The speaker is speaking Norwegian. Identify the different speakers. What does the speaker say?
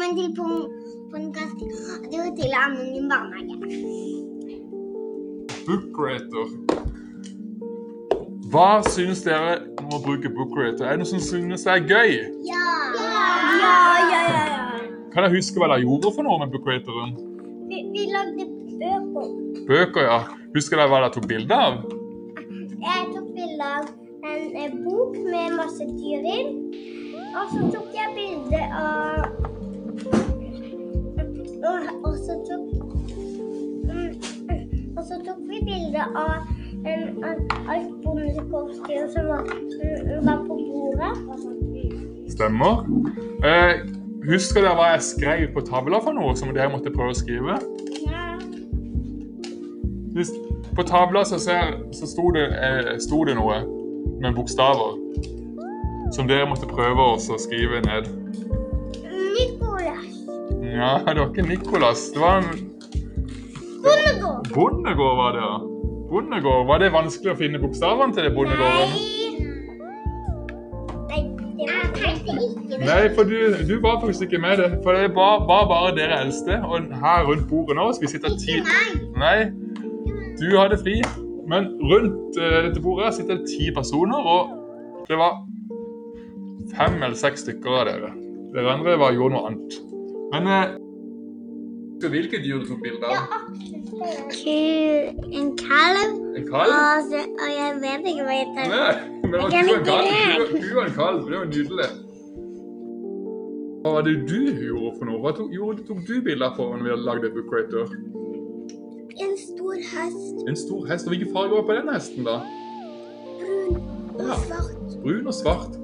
Speaker 1: mantil på podkast. Det var til Amund i barnehage.
Speaker 2: Bookrater. Hva syns dere om å bruke Bookrater? Er det noe som synes det er gøy?
Speaker 1: Ja!
Speaker 3: Ja, ja, ja, ja.
Speaker 2: Kan dere huske hva dere gjorde for noe med Bookrateren?
Speaker 3: Vi, vi lagde bøker.
Speaker 2: Bøker, ja. Husker dere hva dere tok bilde av?
Speaker 3: Jeg tok bilde av en eh, bok med masse dyr i. Og så tok jeg bilde av og, og så tok mm, Og så tok vi bilde av en- av alt bondekorpsdyr som var, mm, var på bordet.
Speaker 2: Stemmer. Eh, husker dere hva jeg skrev på tavla for noe som dere måtte prøve å skrive?
Speaker 3: Ja.
Speaker 2: Hvis, på tavla så, ser, så sto, det, eh, sto det noe med bokstaver som dere måtte prøve å også skrive ned.
Speaker 3: Nicolas
Speaker 2: Ja, det var ikke Nikolas. Det var en
Speaker 3: Bondegård.
Speaker 2: Bondegård var det, ja. Bondegård, Var det vanskelig å finne bokstavene til det bondegården?
Speaker 3: Nei, det
Speaker 1: Ah,
Speaker 3: var
Speaker 1: Tenkte ikke det.
Speaker 2: Nei, for du, du var faktisk ikke med det. For det var, var bare dere eldste. Og her rundt bordet nå skal vi sitte ti
Speaker 1: Ikke meg.
Speaker 2: Nei, du hadde fri. Men rundt eh, dette bordet sitter det ti personer, og det var fem eller seks stykker av dere. Dere andre var, gjorde noe annet. Men eh, Hvilke dyr du tok bilde av?
Speaker 1: Ku, en kalv,
Speaker 2: En kalv?
Speaker 1: og, så, og jeg vet ikke hva jeg tar.
Speaker 2: Nei, men det var
Speaker 1: Jeg
Speaker 2: ku
Speaker 1: vet
Speaker 2: og en kalv.
Speaker 1: ikke.
Speaker 2: Ku- Ku og en kalv, det var nydelig. Hva var det du gjorde for noe? Hva tok, gjorde, tok du bilder for når vi lagde Bookrater?
Speaker 1: En stor hest,
Speaker 2: En stor hest. og Hvilken farge var på den hesten, da?
Speaker 1: brun
Speaker 2: Ja.
Speaker 1: svart.
Speaker 2: Brun og svart.